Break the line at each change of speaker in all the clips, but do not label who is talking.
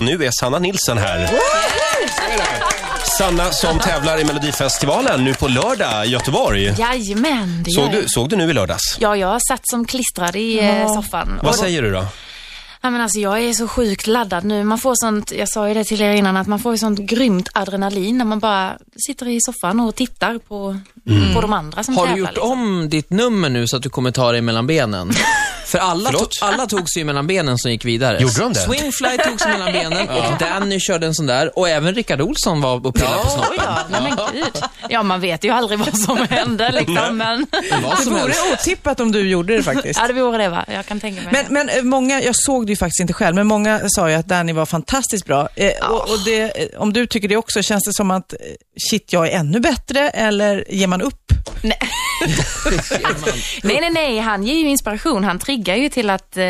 nu är Sanna Nilsson här. Sanna som tävlar i Melodifestivalen nu på lördag i Göteborg.
Jajamän, det
Såg
gör jag.
du, såg du nu i lördags?
Ja, jag satt som klistrad i eh, soffan.
Vad
Och-
säger du då?
Ja, men alltså, jag är så sjukt laddad nu. Man får sånt, jag sa ju det till er innan, att man får ju sånt grymt adrenalin när man bara sitter i soffan och tittar på,
Mm.
på de andra som
Har du
tävlar.
gjort
liksom.
om ditt nummer nu så att du kommer ta dig mellan benen? För alla, to-
Förlåt?
alla tog sig ju mellan benen som gick vidare.
Gjorde de det?
Swingfly tog sig mellan benen och Danny körde en sån där och även Rickard Olsson var och pillade på
Oj
snoppen.
då, nej men gud. Ja, man vet ju aldrig vad som händer liksom, men...
Vad
Det
som
vore
helst.
otippat om du gjorde det faktiskt.
Ja, det vore det va? Jag kan tänka mig
Men,
det.
men eh, många, jag såg det ju faktiskt inte själv, men många sa ju att Danny var fantastiskt bra. Eh, och, och det, eh, om du tycker det också, känns det som att eh, shit, jag är ännu bättre eller ger man upp?
Nej, nej, nej, han ger ju inspiration. Han triggar ju till att, eh,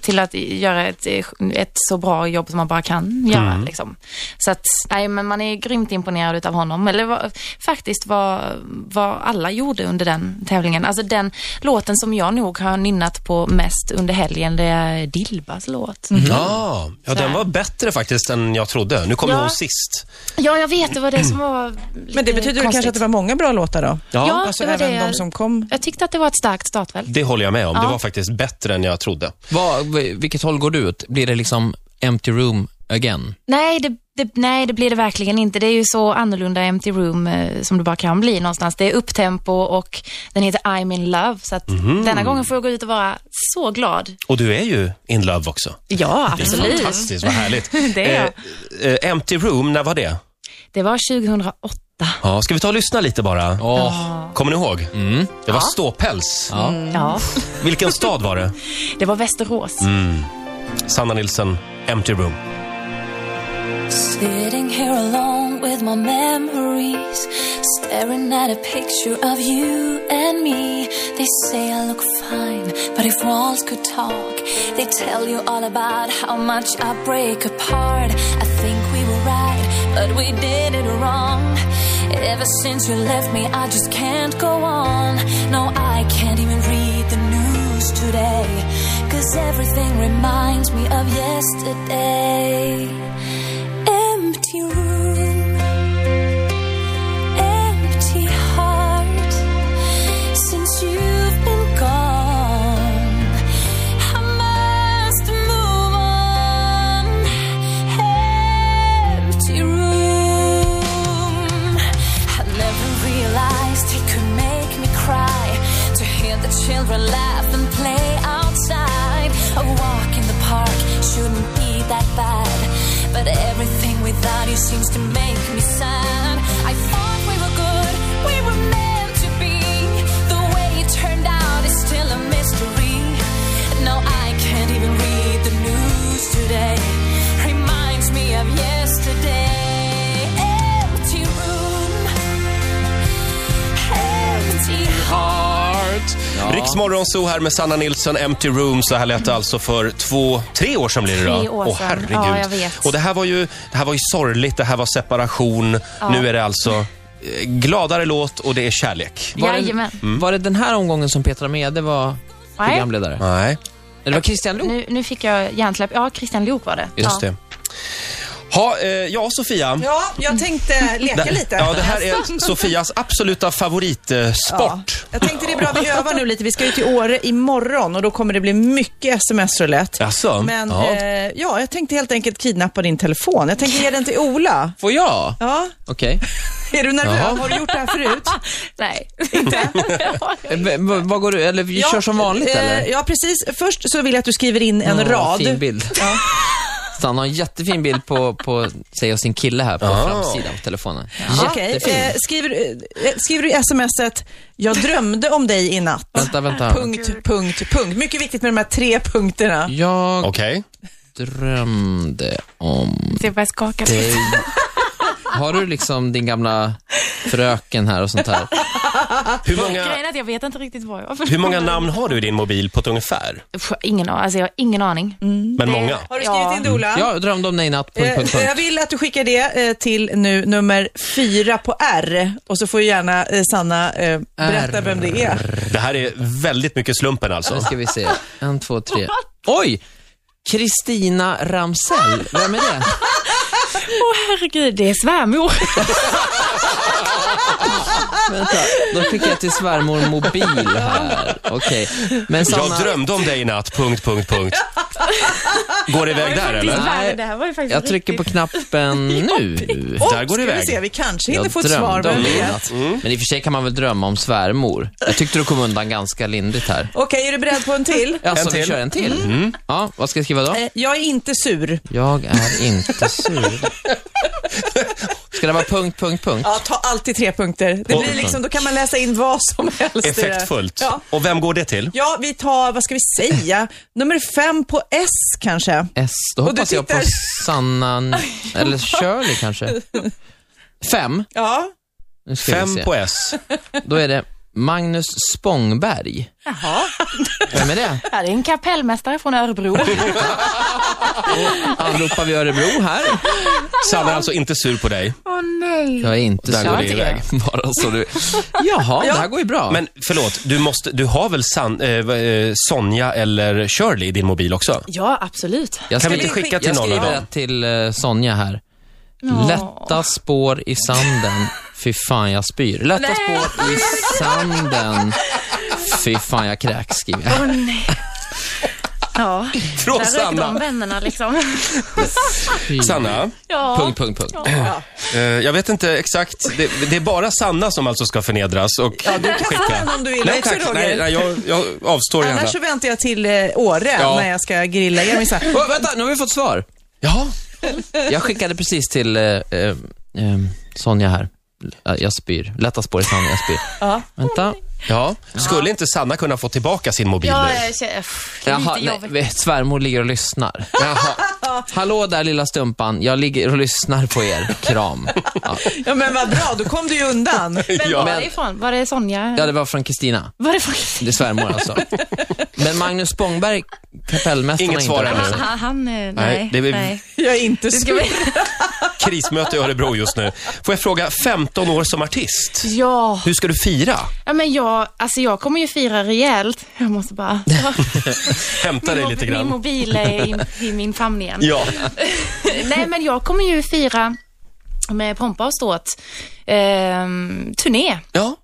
till att göra ett, eh, ett så bra jobb som man bara kan göra. Liksom. Så att, nej, men man är grymt imponerad utav honom. Eller vad, faktiskt vad, vad alla gjorde under den tävlingen. Alltså den låten som jag nog har nynnat på mest under helgen, det är Dilbas låt.
Mm. Ja, ja, den var bättre faktiskt än jag trodde. Nu kommer
Ja.
hon sist.
Ja, jag vet, det var det som var
Men det
lite
betyder väl
konstigt.
kanske att det var många bra låtar då?
Ja,
Ja,
alltså
det var
även
det jag-
de som kom.
Jag tyckte att det var ett starkt startfält.
Det håller jag med om. Det
Ja.
var faktiskt bättre än jag trodde.
Vad, vilket håll går du ut? Blir det liksom empty room again?
Nej det, det, nej, det blir det verkligen inte. Det är ju så annorlunda Empty Room eh, som det bara kan bli någonstans. Det är upptempo och den heter I'm in love. Så att denna gången får jag gå ut och vara så glad.
Och du är ju in love också.
Ja,
Det är fantastiskt, vad härligt.
Det är
eh, eh, Empty room, när var det?
Det var 2008.
Ja, ska vi ta och lyssna lite bara?
Åh,
Kommer ni ihåg? Det var ståpäls.
Mm.
Ja,
Vilken stad var det?
det var Västerås.
Sanna Nilsson, Empty room.
Sitting here alone with my memories, staring at a picture of you and me. They say I look fine, but if walls could talk, they tell you all about how much I break apart. I think we were right, but we did it wrong. Ever since you left me, I just can't go on. No, I can't even read the news today, cause everything reminds me of yesterday empty room, empty heart. Since you've been gone, I must move on. Empty room. I never realized it could make me cry to hear the children laugh and play outside. A walk in the park shouldn't be that bad, but everything without you seems to make me sad. I thought we were good, we were meant to be. The way it turned out is still a mystery. Now I can't even read the news today. Reminds me of yesterday. Empty room, empty
Heart. Riksmorgon så här med Sanna Nilsson, Empty Room. Så här lät det alltså för två, tre år sedan blir det då.
Tre år
Åh,
sedan.
herregud.
Ja, jag vet.
Och det här var ju, det här var ju sorgligt, det här var separation. Nu är det alltså eh, gladare låt och det är kärlek.
var,
Jajamän.
det,
Mm.
var det den här omgången som Petra Mede var
Nej.
programledare?
Nej,
Eller var Christian Luuk?
Nu, nu fick jag hjärnsläpp. Ja, Christian Lok var det.
just
ja.
det. Ha, eh, ja, Sofia.
Ja, jag tänkte leka
Ja, det här
Alltså.
är Sofias absoluta eh, favoritsport.
Jag tänkte det är bra att vi övar nu lite. Vi ska ju till Åre imorgon och då kommer det bli mycket sms-roulette.
Jaså?
Men
Ja.
ja. Eh, ja, jag tänkte helt enkelt kidnappa din telefon. Jag tänker ge den till Ola.
Får jag?
Ja,
Okej.
är du nervös?
Ja.
Har du gjort det här förut?
Nej.
Eh, v- v- Vad går du, eller vi kör som vanligt
eh,
eller?
Ja, precis. Först så vill jag att du skriver in en
Åh,
rad.
Fin bild. Han har en jättefin bild på, på sig och sin kille här på framsidan på telefonen.
Okej,
Jättefin.
eh, skriver, eh, skriver du i smset, jag drömde om dig i natt.
Vänta, vänta.
Punkt, punkt, punkt. Mycket viktigt med de här tre punkterna.
Jag
Okej.
drömde om
Det börjar skaka.
dig. Har du liksom din gamla fröken här och sånt här?
Hur, många,
Grejen är att jag vet inte riktigt vad jag...
hur många namn har du i din mobil på ett ungefär?
Pff, Ingen aning. Alltså, jag har ingen aning.
Men många.
Har du skrivit
Ja.
in det, Ola?
Jag drömde om dig i natt, punkt, punkt,
Eh, jag
punkt.
vill att du skickar det eh, till nu nummer fyra på R och så får ju gärna eh, Sanna eh, berätta
R.
vem det är.
Det här är väldigt mycket slumpen alltså.
Nu ska vi se. En, två, tre. Oj! Kristina Ramsell, vem är det?
Åh herregud, det är svärmor.
Vänta, då skickar jag till svärmor mobil här. Okej. Men Sanna,
Jag drömde om dig i natt, punkt, punkt, punkt. Går det iväg där
Faktiskt
eller?
värre, det här var ju faktiskt
jag trycker på
riktigt-
knappen nu.
Och,
Där går det
ska vi
iväg.
se, vi kanske hinner
Jag
få ett svar. Mm.
drömde
Vem
om
vet?
det. Men i och för sig kan man väl drömma om svärmor. Jag tyckte du kom undan ganska lindrigt här.
Okej, är du beredd på en till? Mm.
Alltså,
till.
vi kör en till? Ja, vad ska jag skriva då?
Eh, Jag är inte sur.
Jag är inte sur. Ska det vara punkt, punkt, punkt?
Ja, ta alltid tre punkter. Det
Och-
blir liksom, då kan man läsa in vad som helst. i det.
Effektfullt.
Ja.
Och vem går det till?
ja, vi tar, vad ska vi säga, nummer fem på S kanske.
S. Då
Och du
hoppas jag på
tittar-
Sanna, eller Shirley kanske. Fem.
Ja,
Nu ska vi
Fem
se.
på S.
Då är det Magnus Spångberg.
Jaha.
Vem är det?
Ja, det är en kapellmästare från Örebro.
Anropar vi Örebro här?
Sanna är alltså inte sur på dig.
Åh nej.
Jag är inte
Där
sur.
går det iväg.
Bara så du... Jaha, det här går ju bra.
Men förlåt, du, måste, du har väl San, eh, vad, eh, Sonja eller Shirley i din mobil också?
Ja, absolut.
jag
Kan vi
skri-
inte skicka till
jag
någon av
skriver
dem?
det till eh, Sonja här.
Ja.
Lätta spår i sanden, fy fan jag spyr. Lätta
Nej.
spår i sanden, fy fan jag kräks, skriver jag.
Åh nej. Ja,
Från
där rök de
Sanna.
vännerna liksom.
Fy.
Sanna,
Ja.
Punkt, punkt, punkt.
eh, jag vet inte exakt. Det, det är bara Sanna som alltså ska förnedras och ja, du kan skicka.
den om du vill
nej,
också,
tack.
Roger.
Nej, nej, jag, jag avstår gärna.
annars så väntar jag till eh, Åre
Ja.
när jag ska grilla er. Men så här,
Oh, vänta, nu har vi fått svar.
Ja,
Jag skickade precis till eh, eh, eh, Sonja här. Eh, Jag spyr. Lätta spår i sanden, jag spyr.
Ja.
Vänta.
ja. Skulle inte Sanna kunna få tillbaka sin mobil
Ja,
nu?
jag känner, pff,
Jaha,
lite jobbigt.
nej, svärmor ligger och lyssnar.
Jaha.
Hallå där lilla stumpan, jag ligger och lyssnar på er. Kram. Ja,
Ja, men vad bra, då kom du ju undan.
Men
Ja.
var
Men-
det ifrån? Var det Sonja?
ja det var från Kristina.
Var det från...
Det är svärmor alltså. Men Magnus Spångberg, kapellmästaren,
Inget
har
svar
hört av
ännu.
sig.
Han, han, eh, nej,
Nej,
nej.
det är-
Jag är inte
Det ska
sur.
vi...
Krismöte i Örebro just nu. Får jag fråga, 15 år som artist.
Ja.
Hur ska du fira?
ja, men jag, alltså jag kommer ju fira rejält. Jag måste bara...
Hämta dig
Min
lite
mob- Min
grann.
mobil är in, i min famn igen.
Ja,
Nej, men jag kommer ju fira med pompa och ståt ehm, turné
ja.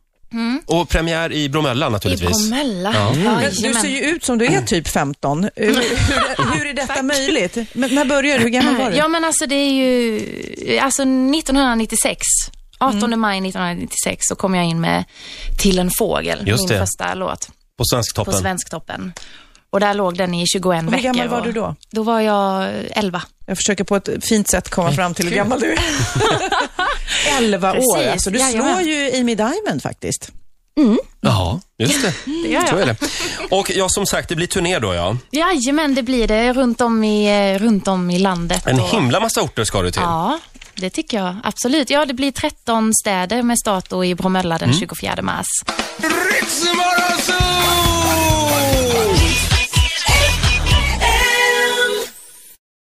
Och premiär i Bromölla
i
naturligtvis.
Bromölla. Ja.
Mm. Men Du ser ju ut som du
Mm.
är typ 15. Hur, hur, hur är detta möjligt? Men när började du? Hur gammal var du?
ja, men alltså det är ju, alltså 1996, 18
Mm.
maj 1996 så kom jag in med Till en fågel,
Just
min
det.
första låt
På
på
Svensktoppen.
Svensktoppen. Och där låg den i 21
Och
veckor.
hur gammal var
och
du då?
Då var jag 11.
Jag försöker på ett fint sätt komma fram till hur gammal du är. 11 år,
Precis,
alltså. Du
jajamän.
slår ju Amy Diamond faktiskt.
Ja, just det.
Det gör
Så
jag.
är det. Och ja, som sagt, det blir turné då ja.
Jajamän, det blir det runt om i, eh, runt om i landet.
En
och-
himla massa orter ska du till.
Ja, det tycker jag absolut. Ja, det blir
Mm.
13 städer med start då i Bromölla den 24 mars.
Ritzmorgonzoo!